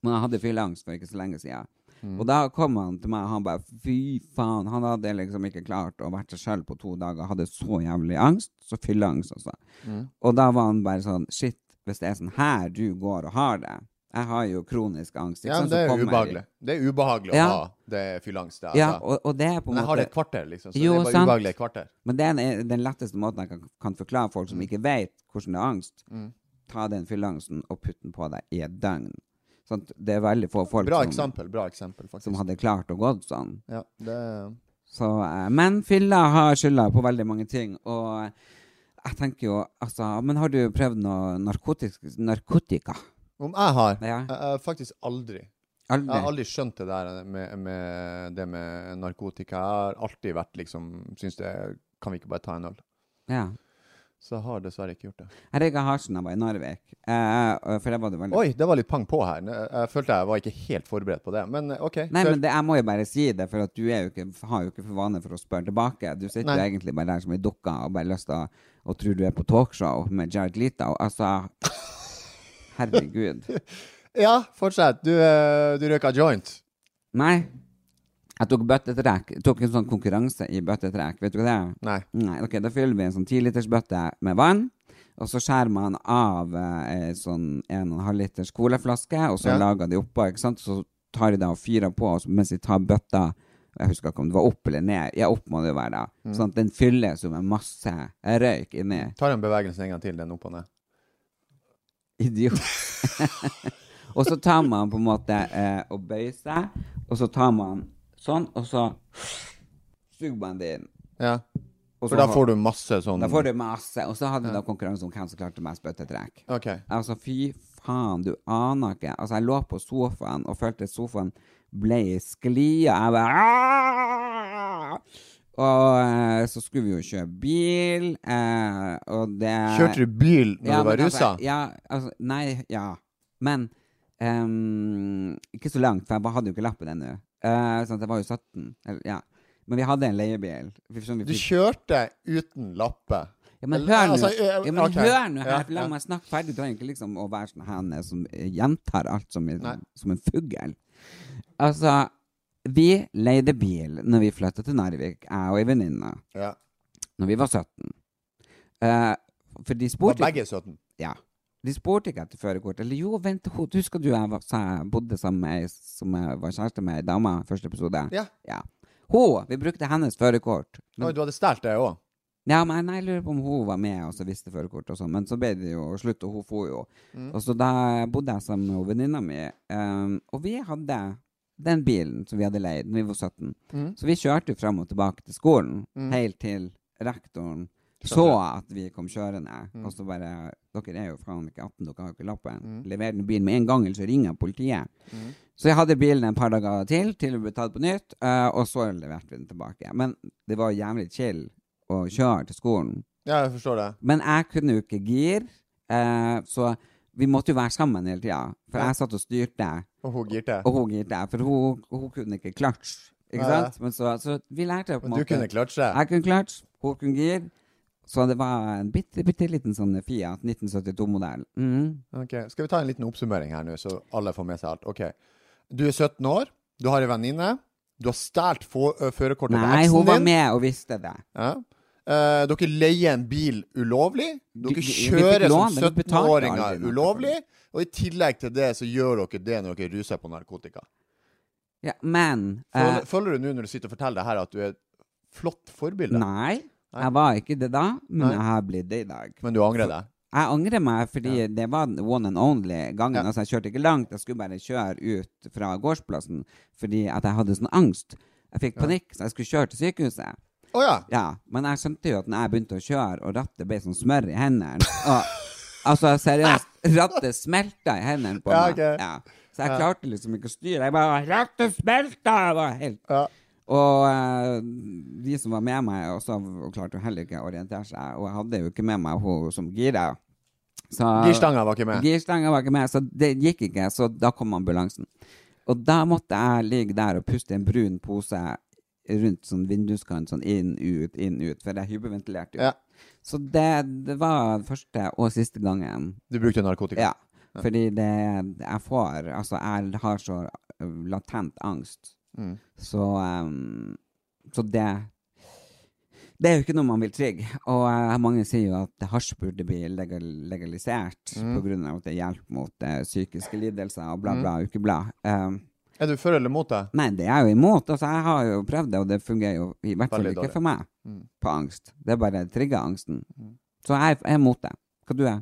Men han hadde fylleangst for ikke så lenge siden.
Mm.
Og da kom han til meg, og han bare fy faen. Han hadde liksom ikke klart å være seg sjøl på to dager. Hadde så jævlig angst. Så fylleangst, altså.
Mm.
Og da var han bare sånn shit, hvis det er sånn her du går og har det Jeg har jo kronisk angst. ikke
Ja, men
sant,
det
så
er
kommer jeg-
ubehagelig. Det er ubehagelig
Ja.
å ha det fylleangst. det,
Ja,
altså.
og, og det er på en
Men jeg har
måte
det et kvarter, liksom. Så
Jo,
det er bare
sant.
ubehagelig et kvarter.
Men det er den letteste måten jeg kan, kan forklare folk
Mm.
som ikke vet hvordan det er angst. Ta den fylleangsten og putt den på deg i et døgn. Sånn, at det er veldig få folk
Bra
som,
eksempel, bra eksempel, faktisk.
som hadde klart å gå sånn.
Ja, det
Så, eh, men fylla har skylda på veldig mange ting. Og jeg tenker jo altså, Men har du prøvd noe narkotisk, narkotika?
Om jeg har
Ja.
jeg, jeg, Faktisk aldri. Jeg
Aldri?
har aldri skjønt det der med, med det med narkotika. Jeg har alltid vært liksom Syns det Kan vi ikke bare ta en øl?
Ja.
Så jeg har dessverre ikke gjort det.
Jeg røyka hasj da jeg var i Narvik. Eh, for det var det veldig
Oi, det var litt pang på her. Jeg følte jeg var ikke helt forberedt på det. Men eh, OK.
Nei,
kjør.
men det, jeg må jo bare si det, for at du er jo ikke, har jo ikke for vane for å spørre tilbake. Du sitter jo
Nei.
egentlig bare der som ei dukke og bare lyst til å og tror du er på talkshow med Jared Leto. Altså Herregud.
Ja, fortsett. Du, eh, du røyka joint.
Nei. Jeg tok bøttetrekk. Jeg tok en sånn konkurranse i bøttetrekk. Vet du hva det er?
Nei.
Nei, ok, Da fyller vi en sånn 10-litersbøtte med vann. Og så skjærer man av eh, sånn 1,5 liters colaflaske, og så
Ja.
lager de oppå. ikke sant? Så tar de da og fyrer på, og så, mens de tar bøtta Jeg husker ikke om det var opp eller ned. Ja, opp må det jo være, da. Sånn at den fylles jo med masse røyk inni. *laughs*
Tar en bevegelse en gang til, den opp og ned.
Idiot. og så tar man på en måte eh, og bøyer seg, og så tar man sånn, og så suger man det inn.
Ja.
Og
For
så
da
har-
får du masse sånn
Da får du masse. Og så hadde vi da konkurranse om hvem som klarte mest bøttetrekk.
OK.
Altså, fy faen, du aner ikke. Altså, jeg lå på sofaen og følte at sofaen ble i skli, og jeg bare «Aah!» Og eh, så skulle vi jo kjøre bil, eh, og det
Kjørte du bil når du var
men altså,
rusa?
Ja, altså, nei, ja. Men ehm, ikke så langt, for jeg bare hadde jo ikke lappen ennå. Eh, sånn at jeg var jo 17. Eller, ja. Men vi hadde en leiebil. Vi- som vi
Du
fikk-
kjørte uten lappe.
ja, men
Eller-
hør nå
altså, ø-
ja, men
ok.
hør nå her,
Ja,
la
ja.
meg snakke ferdig. Du trenger ikke liksom å være sånn her som gjentar alt som, i-
Nei.
som en fugl. Altså, Vi leide bil når vi flytta til Narvik, jeg og ei venninne,
Ja.
når vi var 17. Eh, for de
Var
spurte
begge 17.
ja. De spurte ikke etter førerkort. Eller jo, vent, hun- du husker du jeg var, sa jeg bodde sammen med ei som jeg var kjæreste med, ei dame, første episode?
Ja.
Hun! Vi brukte hennes førerkort.
Oi, du hadde stjålet det òg?
Ja, men jeg lurer på om hun var med og så visste førerkortet og sånn, men så ble det jo slutt, og hun for jo. Og så da bodde jeg sammen med venninna mi, ehm, og vi hadde den bilen som vi hadde leid når vi var 17. Så vi kjørte jo fram og tilbake til skolen, helt til rektoren så at vi kom kjørende, og så bare Dere er jo faen ikke 18, dere har jo ikke lappen. Lever den bilen med en gang, eller så ringer jeg politiet. Så jeg hadde bilen en par dager til, til vi ble tatt på nytt, eh, og så leverte vi den tilbake. Men det var jævlig chill å kjøre til skolen.
Ja, jeg forstår det.
Men jeg kunne jo ikke gir, eh, så vi måtte jo være sammen hele tida. For jeg satt og styrte,
Og hun girte.
og hun girte, for hun, hun kunne ikke clutch. Ikke
Nei.
sant? Men så, så vi lærte jo på en
Men du
måte
kunne kløtsje.
Jeg kunne clutch, hun kunne gir. Så det var en bitte, bitte liten sånn Fiat 1972-modell. Mhm.
Ok, Skal vi ta en liten oppsummering her nå, så alle får med seg alt. Ok, Du er 17 år, du har ei venninne. Du har stjålet få- ø, førerkortet til
Nei, hun
eksen
var
din.
med og visste det.
Ja. Eh, dere leier en bil ulovlig.
Vi-
Dere
vi- vi
kjører
fikk
som
lån, men vi betalte
17-åringer
aldri noe.
ulovlig. Og i tillegg til det så gjør dere det når dere ruser på narkotika.
Ja, men eh,
Føler, føler du nå når du sitter og forteller det her, at du er et flott forbilde?
Nei, jeg var ikke det da, men
Nei.
jeg har blitt det i dag.
Men du angrer deg?
Jeg angrer meg, fordi det var one and only gangen.
Ja.
Altså, jeg kjørte ikke langt. Jeg skulle bare kjøre ut fra gårdsplassen fordi at jeg hadde sånn angst. Jeg fikk panikk, så jeg skulle kjøre til sykehuset.
Å ja.
Ja, Men jeg skjønte jo at når jeg begynte å kjøre, og rattet ble sånn smør i hendene og, Altså, seriøst. Rattet smelta i hendene på
Ja,
meg.
ok.
Ja. Så jeg klarte liksom ikke å styre. Jeg bare Rattet smelta! Jeg var helt
ja.
og eh, de som var med meg, også klarte jo heller ikke å orientere seg. Og jeg hadde jo ikke med meg hun som gira. Så-
Girstanga var ikke med.
Girstanga var ikke med, så det gikk ikke. Så da kom ambulansen. Og da måtte jeg ligge der og puste i en brun pose rundt sånn vinduskant, sånn inn, ut, inn, ut. For jeg hyperventilerte jo.
Ja.
Så det, det var første og siste gangen
Du brukte narkotika?
ja. Fordi det jeg får Altså, jeg har så ø, latent angst.
Mm.
Så ehm, Så det Det er jo ikke noe man vil trygge. Og eh, mange sier jo at hasj burde bli legal, legalisert
Mm.
på grunn av at det hjelper mot eh, psykiske lidelser og bla, bla, ukeblad. Ehm,
Er du for eller mot det?
Nei, det er jeg jo imot. Altså, jeg har jo prøvd det, og det fungerer jo i hvert fall
Veldig
ikke
dårlig. Mm.
for meg på angst. Det er bare trigger angsten. Så jeg, jeg er imot det. Hva du er?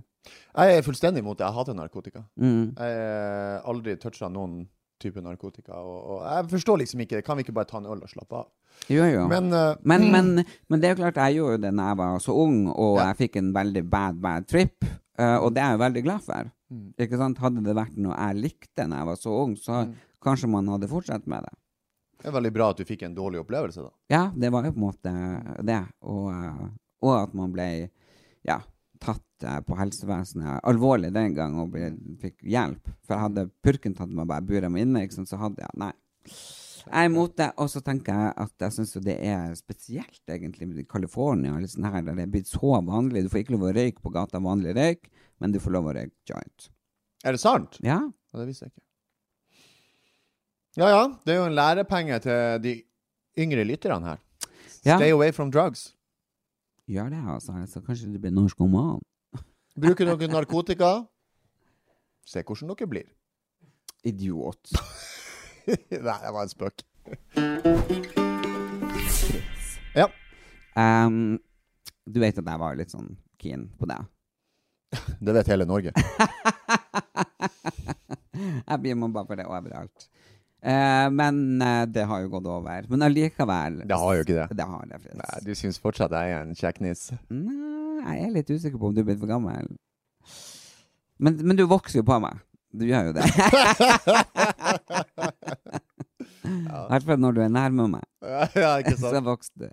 Jeg er fullstendig imot det. Jeg hater narkotika.
Mm.
Jeg har aldri toucha noen type narkotika. Og, og jeg forstår liksom ikke Kan vi ikke bare ta en øl og slappe av?
Jo, jo.
Men eh,
Men, men, men det er jo klart, jeg gjorde jo det da jeg var så ung, og
Ja.
jeg fikk en veldig bad, bad trip. eh, og det er jeg jo veldig glad for. Ikke sant? Hadde det vært noe jeg likte da jeg var så ung, så kanskje man hadde fortsatt med det.
det er veldig bra at du fikk en dårlig opplevelse, da.
Ja, det var jo på en måte det. Og, eh, og at man ble ja, tatt eh, på helsevesenet alvorlig den gang og ble, fikk hjelp. For hadde purken tatt meg og bare buret meg inne, ikke sant, så hadde jeg Nei. Jeg er imot det, og så tenker jeg at jeg syns det er spesielt, egentlig, med California, eller sånn her, der det er blitt så vanlig. Du får ikke lov å røyke på gata vanlig røyk, men du får lov å røyke joint.
Er det sant?
Ja.
Ja, det visste jeg ikke. Ja ja, det er jo en lærepenge til de yngre lytterne her.
Ja.
Stay away from drugs.
Gjør det, altså. Så kanskje du blir norsk oman.
Bruker *laughs* dere narkotika, se hvordan dere blir. *laughs*
Idiot.
Nei, det var en spøk. Ja.
Ehm, du vet at jeg var litt sånn keen på det.
Det vet hele Norge.
Jeg blir med bare for det overalt. Eh, men eh, det har jo gått over. Men allikevel
Det har jo ikke det.
Det har det, Fritz.
Nei, du syns fortsatt jeg er en kjekknis.
Nei, jeg er litt usikker på om du er blitt for gammel. Men, men du vokser jo på meg. Du gjør jo
*laughs*
det. I hvert fall når du er nærme meg,
*laughs* ja, ikke
så
sant?
vokser du.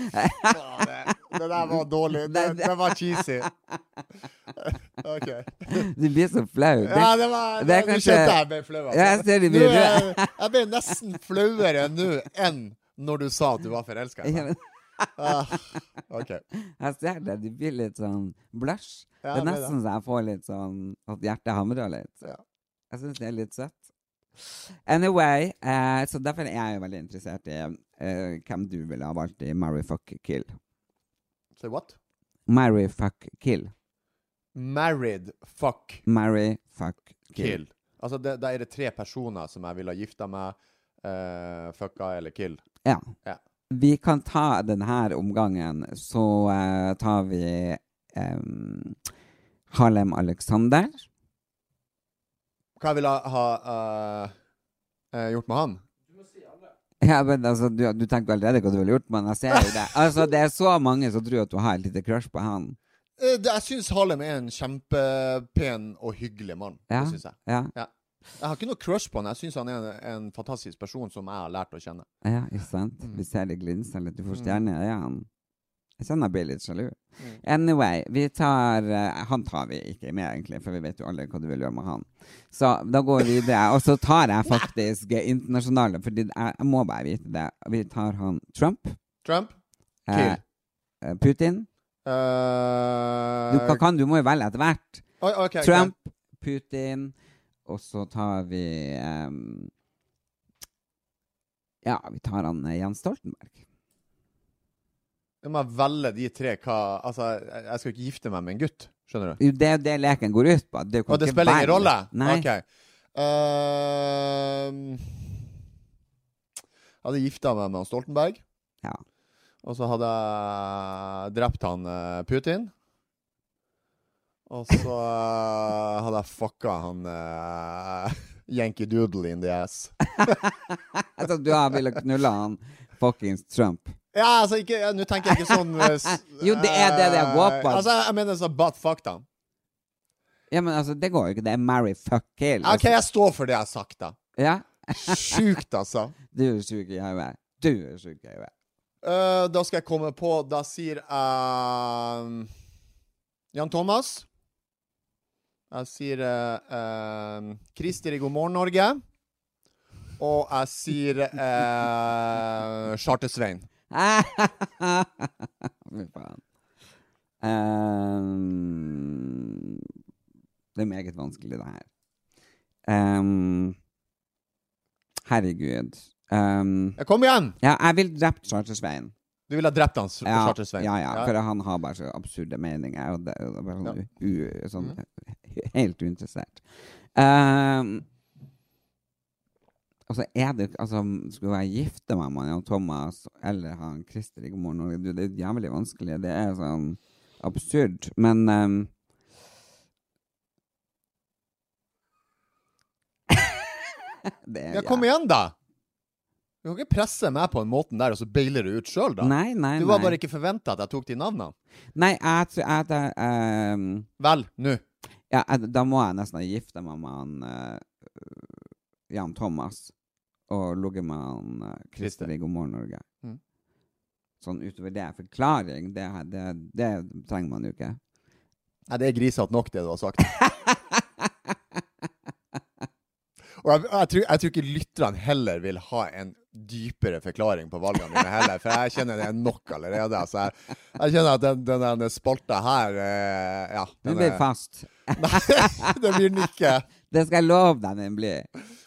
*laughs* Faen, det, det der var dårlig. Det, det var cheesy. *laughs* OK.
Du blir så flau. Det-
Ja, det var
det er
det, Du
kanskje-
skjønte jeg ble flau. altså.
Ja, jeg ser du blir
Nå er jeg- Jeg ble nesten flauere nå enn når du sa at du var forelska i meg. Ah, OK.
Jeg ser det, du blir litt sånn blush. det er
Ja, det er
nesten så jeg får litt sånn at hjertet hamrer litt.
Ja.
Jeg syns det er litt søtt. Anyway, eh, så derfor er jeg jo veldig interessert i eh, hvem du ville ha valgt i Marry Fuck Kill.
Say what?
Marry Fuck Kill.
Married fuck
Marry Fuck Kill.
kill. Altså, det, da er det tre personer som jeg ville ha gifta meg, eh, fucka eller kill.
Ja.
Ja.
Vi kan ta denne omgangen, så eh, tar vi em, Harlem Alexander.
Hva jeg ville ha eh, eh, gjort med han?
Ja, men altså, du, du tenkte allerede hva du ville gjort, men jeg ser jo det. Altså, det er så mange som tror at du har et lite crush på han.
Eh, det- Jeg syns Harlem er en kjempepen og hyggelig mann.
Ja.
Det synes jeg.
Ja,
Ja. Jeg har ikke noe crush på han. Jeg syns han er en, en fantastisk person som jeg har lært å kjenne.
ja ikke sant? Vi ser det glinser litt. Du får stjerne i øynene. Jeg kjenner jeg blir litt sjalu. Anyway, vi tar eh, Han tar vi ikke med, egentlig, for vi vet jo alle hva du vil gjøre med han. Så da går vi videre. Og så tar jeg faktisk eh, internasjonale, Fordi jeg, jeg må bare vite det. Vi tar han Trump.
Trump?
eh,
Kill.
eh, Putin. Du,
Eh,
hva kan, du må jo velge etter hvert.
oi, ok, ok.
Trump, Putin, og så tar vi ehm, Ja, vi tar han eh, Jens Stoltenberg.
Jeg må velge de tre hva Altså, jeg jeg skal ikke gifte meg med en gutt. Skjønner du?
Jo, Det er jo det leken går ut på. Du kan
Og det
ikke
spiller ingen
velge.
rolle?
Nei.
OK. Ehm, jeg hadde gifta meg med han Stoltenberg.
Ja.
Og så hadde jeg drept han eh, Putin. Og så eh, hadde jeg fucka han eh, *laughs* Yankee Doodle in the ass.
*laughs* Altså, du har villet knulle han fuckings Trump.
Ja, altså, ikke ja, Nå tenker jeg ikke sånn eh, s-
*laughs* Jo, det er det det går på.
eh, Altså, jeg mener sånn butt fuck, da.
Ja, men altså, det går jo ikke. Det er marry fuck kill.
OK, jeg står for det jeg har sagt, da.
Ja?
Sjukt, altså.
Du er sjuk i hodet. Du er sjuk i hodet.
Eh, da skal jeg komme på Da sier jeg Jan Thomas. Jeg sier eh, eh, Christer i God morgen, Norge. Og jeg sier uh, Charter-Svein.
*laughs* Fy faen. Ehm, det er meget vanskelig, det her. Ehm, herregud. Ehm,
Ja, Kom igjen!
ja, jeg vil drept Charter-Svein.
Du ville ha drept han, S-
Ja,
Charter-Svein.
ja, ja, for han har bare så absurde meninger. Og det, og det er bare sånn, u, sånn
Mm.
*laughs* Helt uinteressert. Ehm, og så er det altså, Skulle jeg gifte meg med han Thomas eller han Christer i God morgen Norge du, Det er jævlig vanskelig. Det er sånn absurd. Men ehm, *laughs* det er
Ja, kom igjen, da! Du kan ikke presse meg på den måten der, og så beiler du ut sjøl, da.
Nei, nei,
du var
nei.
bare ikke forventa at jeg tok de navnene.
Nei, jeg tror jeg, jeg, ehm,
Vel, nå.
Ja, eh, da må jeg nesten ha gifta meg med han eh, Jan Thomas. Og ligget med han eh,
Christer.
Christer i God morgen, Norge.
Mm.
Sånn utover det. Forklaring, det, her- det, det trenger man jo ikke.
Nei, det er grisete nok, det du har sagt. *laughs* Og jeg, jeg, tror, jeg tror ikke lytterne heller vil ha en dypere forklaring på valgene mine heller, for jeg kjenner det er nok allerede. Altså, jeg, jeg kjenner at den, den, der spalta her eh, Ja.
Den
den er-
blir fast.
*laughs* Nei, den blir den ikke.
Det skal jeg love deg den blir.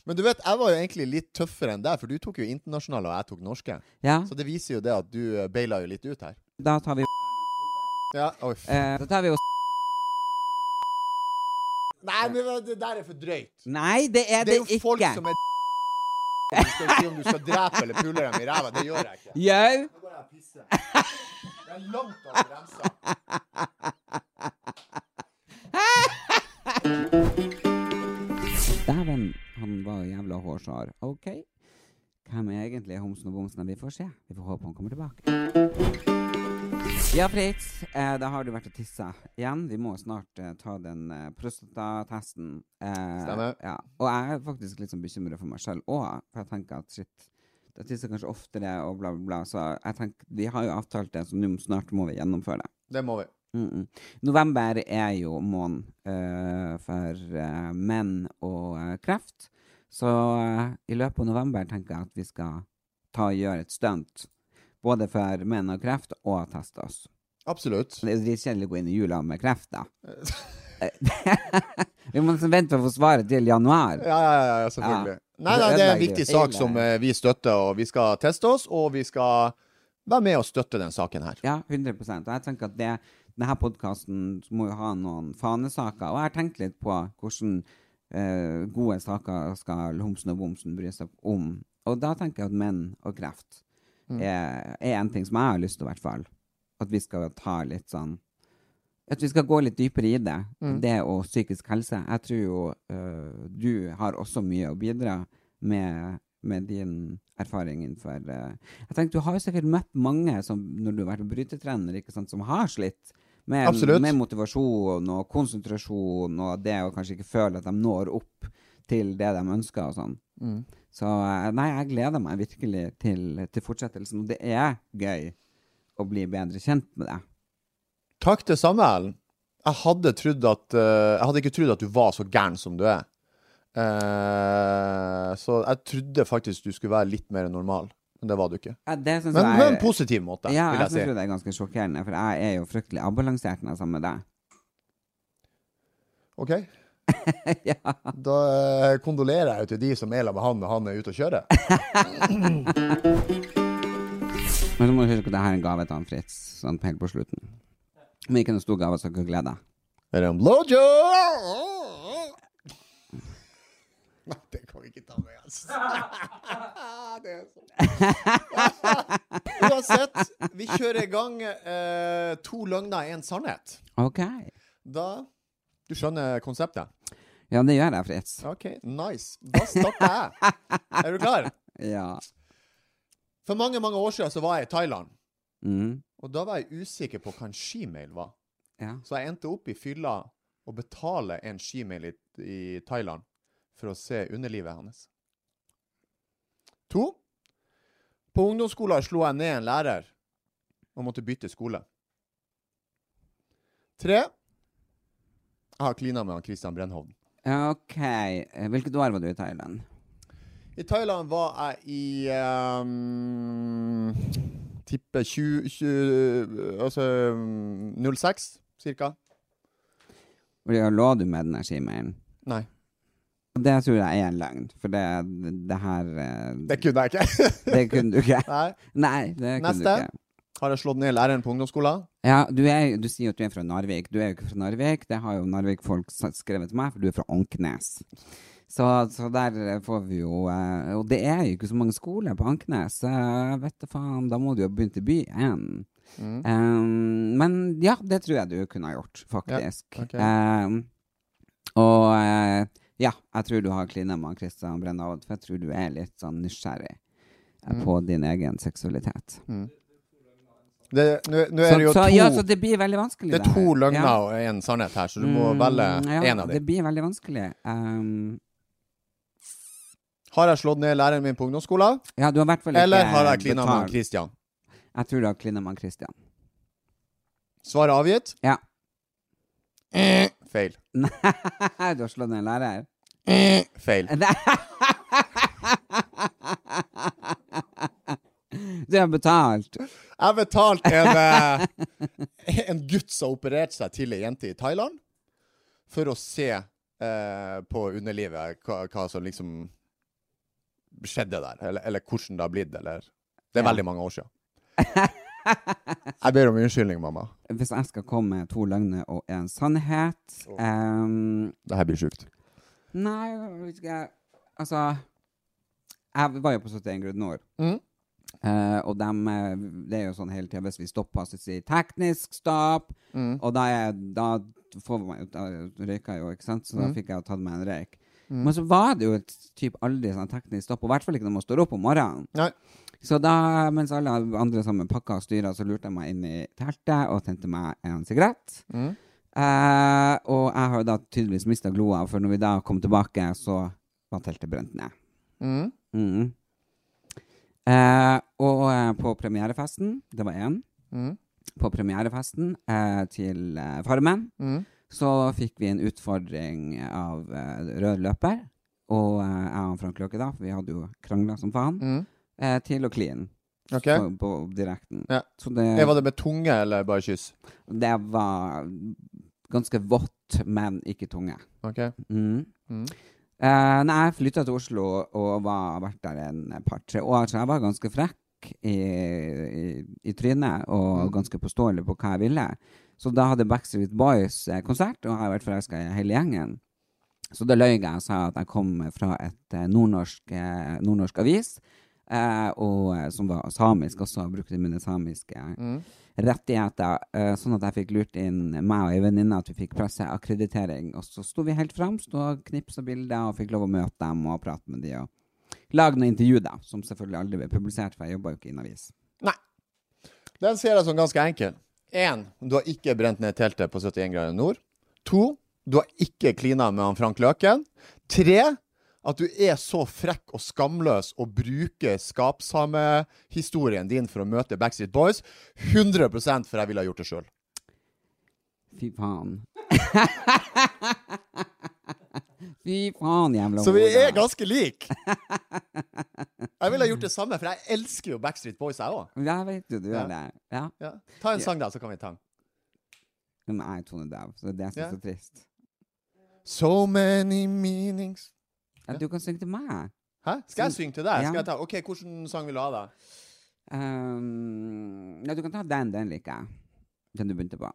Men du vet, jeg var jo egentlig litt tøffere enn deg, for du tok jo internasjonale, og jeg tok norske.
Ja,
Så det viser jo det at du eh, beila jo litt ut her.
da tar vi
Ja, oi. f-
eh, Da tar vi oss
Nei, men det der er for drøyt.
Nei, det er
Det
det,
er jo folk
ikke!
som er *laughs* Du skal si om du skal drepe eller pule dem i ræva. Det gjør jeg ikke.
Jau!
Nå går jeg og pisser. Det er langt over grensa.
Dæven, han var jævla hårsår. OK. Hvem er egentlig homsen og bomsen? Vi får se. Vi får håpe han kommer tilbake. Ja, Fritz. Eh, da har du vært og tissa igjen. Vi må snart eh, ta den eh, prostatatesten. Eh,
Stemmer.
Ja. Og jeg er faktisk litt sånn bekymra for meg sjøl òg, for jeg tenker at shit Jeg tisser kanskje oftere og bla, bla, bla. Så jeg tenker, vi har jo avtalt det, så nå snart må vi gjennomføre det.
Det må vi.
Mm -mm. November er jo måneden eh, for eh, menn og eh, kreft. Så eh, i løpet av november tenker jeg at vi skal ta og gjøre et stunt. Både for menn og kreft, og teste oss.
Absolutt.
Det er jo dritkjedelig å gå inn i jula med kreft, da. Eh, *laughs* Vi må vente på å få svaret til januar.
Ja, ja, ja, ja selvfølgelig.
Ja.
Nei, nei, det er en
Ødelegger.
viktig sak
Ødelegger.
som eh, vi støtter, og vi skal teste oss, og vi skal være med og støtte den saken her.
Ja, 100 Og jeg tenker at det, denne podkasten må jo ha noen fanesaker. Og jeg har tenkt litt på hvordan eh, gode saker skal Homsen og Bomsen bry seg om. Og da tenker jeg at menn og kreft er, er en ting som jeg har lyst til, i hvert fall. At vi skal ta litt sånn at vi skal gå litt dypere i det.
Mm.
Det og psykisk helse. Jeg tror jo øh, du har også mye å bidra med, med din erfaring innenfor øh. Jeg tenker, Du har jo sikkert møtt mange som, når du har vært brytetrener, ikke sant, som har slitt. Med,
Absolutt.
med motivasjon og konsentrasjon og det å kanskje ikke føle at de når opp til det de ønsker og sånn.
Mm.
Så øh, nei, jeg gleder meg virkelig til, til fortsettelsen. Og det er gøy å bli bedre kjent med deg.
Takk det samme, Ellen. Jeg hadde, trodd at, eh, jeg hadde ikke trodd at du var så gæren som du er. Eh, så jeg trodde faktisk du skulle være litt mer normal, men det var du ikke.
Ja, det synes
Men
jeg
på
er-
en positiv måte,
Ja, jeg
vil jeg si.
synes jo det er ganske sjokkerende, for jeg er jo fryktelig avbalansert når jeg er sammen med deg. *laughs*
OK? Da eh, kondolerer jeg jo til de som er sammen med han når han er ute og kjører.
Men så må du huske at dette er en gave til han Fritz, sånn helt på slutten. Men ikke noen stor gave, så ikke glede deg.
Er det en blowjob? Nei, det kan vi ikke ta med, altså. *laughs* det er så *laughs* Uansett, vi kjører i gang eh, to løgner, én sannhet.
Ok.
Da Du skjønner konseptet?
Ja, det gjør jeg, Fritz.
OK, nice. Da starter jeg. Er du klar?
Ja.
For mange, mange år siden så var jeg i Thailand.
Mm.
Og da var jeg usikker på hva en skimail var.
Ja.
Så jeg endte opp i fylla og betale en skimail i, i Thailand for å se underlivet hans. To. På ungdomsskolen slo jeg ned en lærer og måtte bytte skole. Tre. Jeg har klina med han Christian Brennhovden.
Ok. Eh, Hvilket år var du i Thailand?
I Thailand var jeg i um, Tipper 20, 20 Altså um, 06, cirka.
Hvor ja, lå du med den der skimeilen?
Nei,
Og Det tror jeg er en løgn, for det, det her eh,
det kunne jeg ikke.
Det kunne du ikke. *laughs*
*laughs* Nei.
Nei, det kunne
Neste.
du ikke.
Har jeg slått ned læreren på ungdomsskolen?
Ja, du, er, du sier jo at du er fra Narvik. Du er jo ikke fra Narvik. Det har jo Narvik-folk s- skrevet til meg, for du er fra Anknes. Så, så der eh, får vi jo eh, Og det er jo ikke så mange skoler på Anknes. så jeg vet du faen, da må du jo ha begynt i byen.
Mm.
Um, men ja, det tror jeg du kunne ha gjort, faktisk.
ok.
Um, og eh, ja, jeg tror du har klina med han Christian Brennaud, for jeg tror du er litt sånn nysgjerrig
Mm.
eh, på din egen seksualitet.
Det- Nå nå er
Så,
det jo
så,
to,
ja, så det blir veldig vanskelig.
det er to
her.
løgner
Ja.
og én sannhet her, så du må velge
Mm, ja,
én av
Det
dem.
blir veldig vanskelig. Um,
Har jeg slått ned læreren min på ungdomsskolen,
ja, du har i hvert fall ikke
eller har jeg klina med
betalt.
han Christian?
Jeg tror du har klina med han Christian.
Svar er avgitt?
Ja. *laughs*
Feil.
du har slått ned en lærer.
Feil.
Du har betalt.
Jeg betalte en, eh, en gutt som opererte seg til ei jente i Thailand, for å se eh, på underlivet hva, hva som liksom skjedde der, eller, eller hvordan det har blitt, eller Det er
Ja.
veldig mange år siden. Jeg ber om unnskyldning, mamma.
Hvis jeg skal komme med to løgner og en sannhet um,
Det her blir sjukt.
Nei, jeg skal jeg Altså Jeg var jo på 71 Grud Nord.
Mhm.
Eh, og dem, eh, det er jo sånn hele tida hvis vi stopper, så sier 'teknisk stopp', og da, er, da får man jo Da røyker jeg jo, ikke sant, så da fikk jeg jo tatt meg en røyk. Men så var det jo et typ aldri sånn teknisk stopp, og i hvert fall ikke når man står opp om morgenen.
Nei.
Så da, mens alle andre sammen pakka og styra, så lurte jeg meg inn i teltet og tente meg en sigarett. Eh, og jeg har jo da tydeligvis mista gloa, for når vi da kom tilbake, så var teltet brent ned.
Mm.
Mhm. Eh, og eh, på premierefesten, det var én,
Mm.
på premierefesten eh, til eh, Farmen, så fikk vi en utfordring av eh, rød løper, og eh, jeg og Frank Løke da, for vi hadde jo krangla som faen, eh, til å kline. På,
Ok.
på direkten.
Ja.
Så det,
Eh, Var det med tunge eller bare kyss?
det var Ganske vått, men ikke tunge.
Ok.
Mm.
Mm.
Eh, nei, jeg flytta til Oslo og var, vært der en par-tre år, så jeg var ganske frekk i, i, i trynet og ganske påståelig på hva jeg ville. Så da hadde Backstreet Boys eh, konsert, og jeg har vært forelska i hele gjengen. Så da løy jeg og sa at jeg kom fra et eh, nordnorsk, eh, nordnorsk avis, eh, og, eh, som var samisk også, og brukte mine samiske rettigheter, eh, sånn at jeg fikk lurt inn meg og ei venninne at vi fikk presseakkreditering. Og så sto vi helt fremst og knipsa bilder og fikk lov å møte dem og prate med de og lage noen intervju, da, som selvfølgelig aldri ble publisert, for jeg jobba jo ikke i en avis.
Nei. Den ser jeg som ganske enkel. Én, du har ikke brent ned teltet på 71 grader nord. To, du har ikke klina med han Frank Løken. Tre, at du er så frekk og skamløs og bruker skapsamehistorien din for å møte Backstreet Boys. 100 for jeg ville ha gjort det sjøl.
Fy faen. *laughs* Fy faen, jævla
Så vi
hoder.
er ganske like. *laughs* Jeg ville ha gjort det samme, for jeg elsker jo Backstreet Boys, jeg òg.
Ja, jeg vet jo du
Ja.
gjør det. Ja.
Ja. Ta en sang, da, så kan vi ta den.
Men jeg er tonedau, så det er det jeg
Ja.
syns er så trist.
So many meanings
Ja, du kan synge til meg.
Hæ? Skal jeg synge til deg?
Ja.
Skal jeg ta? Ok, Hvilken sang vil du ha, da?
Um, ja, du kan ta den. Den liker jeg. Den du begynte på.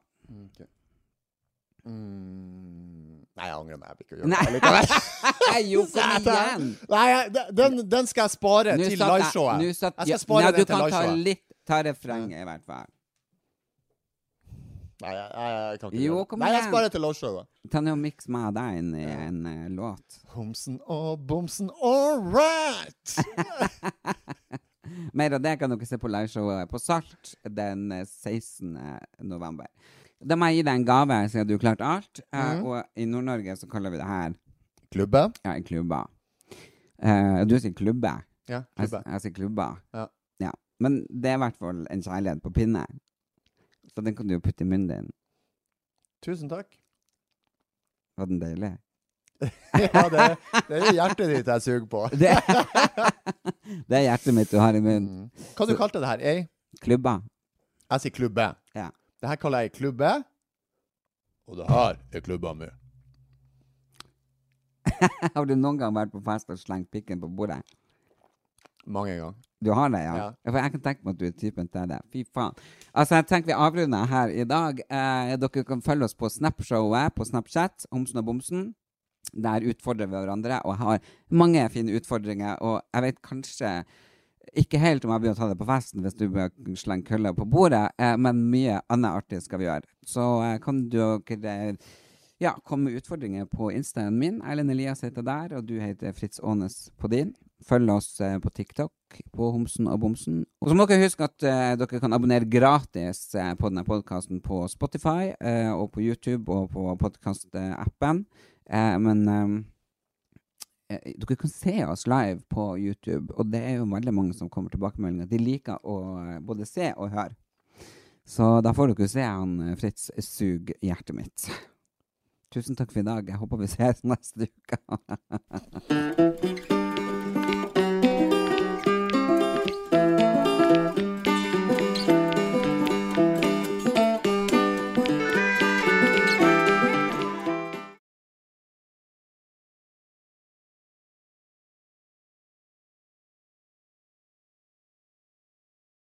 Mm, nei, jeg angrer meg. Jeg blir ikke å gjøre *laughs*
Nei.
det likevel.
*laughs* jo, kom igjen!
Nei, jeg- de- den, den skal jeg spare
Nå
til
satt jeg-
liveshowet.
nå
Jeg
satt-
skal
ja,
spare
nei,
den
Du
til
kan ta
liveshowet.
litt Ta refrenget, i hvert fall.
Nei, jeg, jeg, jeg kan ikke
Jo,
gjøre det.
kom
Nei, jeg
igjen.
sparer til liveshowet.
Ta nå og miks meg og deg inn i en eh, låt.
Homsen og bomsen, all
*laughs*
right!
Mer av det kan dere se på liveshowet på Salt den eh, 16. november. Da må jeg gi deg en gave, siden du klarte alt. Eh,
Mhm.
Og i Nord-Norge så kaller vi det her
Klubbe?
ja, en klubba. Eh, du sier klubbe.
Ja,
Jeg,
klubbe.
jeg sier klubba.
Ja.
Ja. Men det er i hvert fall en kjærlighet på pinne. Så den kan du jo putte i munnen din.
Tusen takk. *laughs*
Var den deilig?
Ja, det, det er hjertet ditt jeg suger på.
Det, det er hjertet mitt du har i munnen.
Hva du kalte det her? Ei?
Klubba.
Jeg sier klubbe.
Ja. *laughs*
Det her kaller jeg klubbe. Og det her er klubba mi.
Har du noen gang vært på fest og slengt pikken på bordet?
Mange ganger.
Du har det, ja?
Ja.
For jeg kan tenke meg at du er typen til det. Fy faen. Altså, jeg tenker vi avrunder her i dag. Eh, dere kan følge oss på Snapshowet på Snapchat, Homsen og Bomsen. Der utfordrer vi hverandre, og jeg har mange fine utfordringer. Og jeg vet kanskje ikke helt om jeg begynner å ta det på festen hvis du begynner å slenge køller på bordet, eh, men mye annet artig skal vi gjøre. Så eh, kan dere eh, ja, komme med utfordringer på instaen min. Erlend Elias heter der, og du heter Fritz Aanes på din. Følg oss eh, på TikTok på Homsen og Bomsen. Og så må dere huske at eh, dere kan abonnere gratis eh, på denne podkasten på Spotify eh, og på YouTube og på podkastappen. Eh, men eh, eh, dere kan se oss live på YouTube, og det er jo veldig mange som kommer tilbakemeldinger. De liker å eh, både se og høre. Så da får dere se han eh, Fritz suge hjertet *laughs* mitt. Tusen takk for i dag. Jeg håper vi ses neste uke.